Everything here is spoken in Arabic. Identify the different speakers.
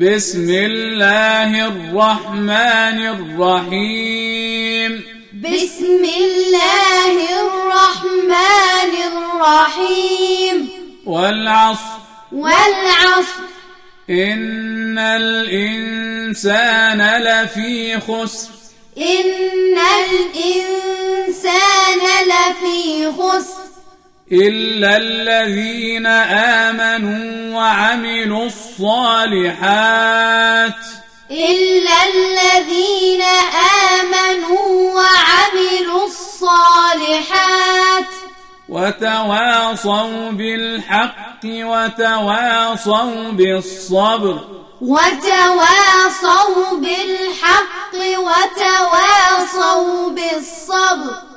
Speaker 1: بسم الله الرحمن الرحيم
Speaker 2: بسم الله الرحمن الرحيم
Speaker 1: والعصر
Speaker 2: والعصر
Speaker 1: إن الإنسان لفي خسر
Speaker 2: إن الإنسان لفي خسر
Speaker 1: إلا الذين آمنوا وعملوا الصالحات
Speaker 2: إلا الذين آمنوا وعملوا الصالحات
Speaker 1: وتواصوا بالحق وتواصوا بالصبر
Speaker 2: وتواصوا بالحق وتواصوا بالصبر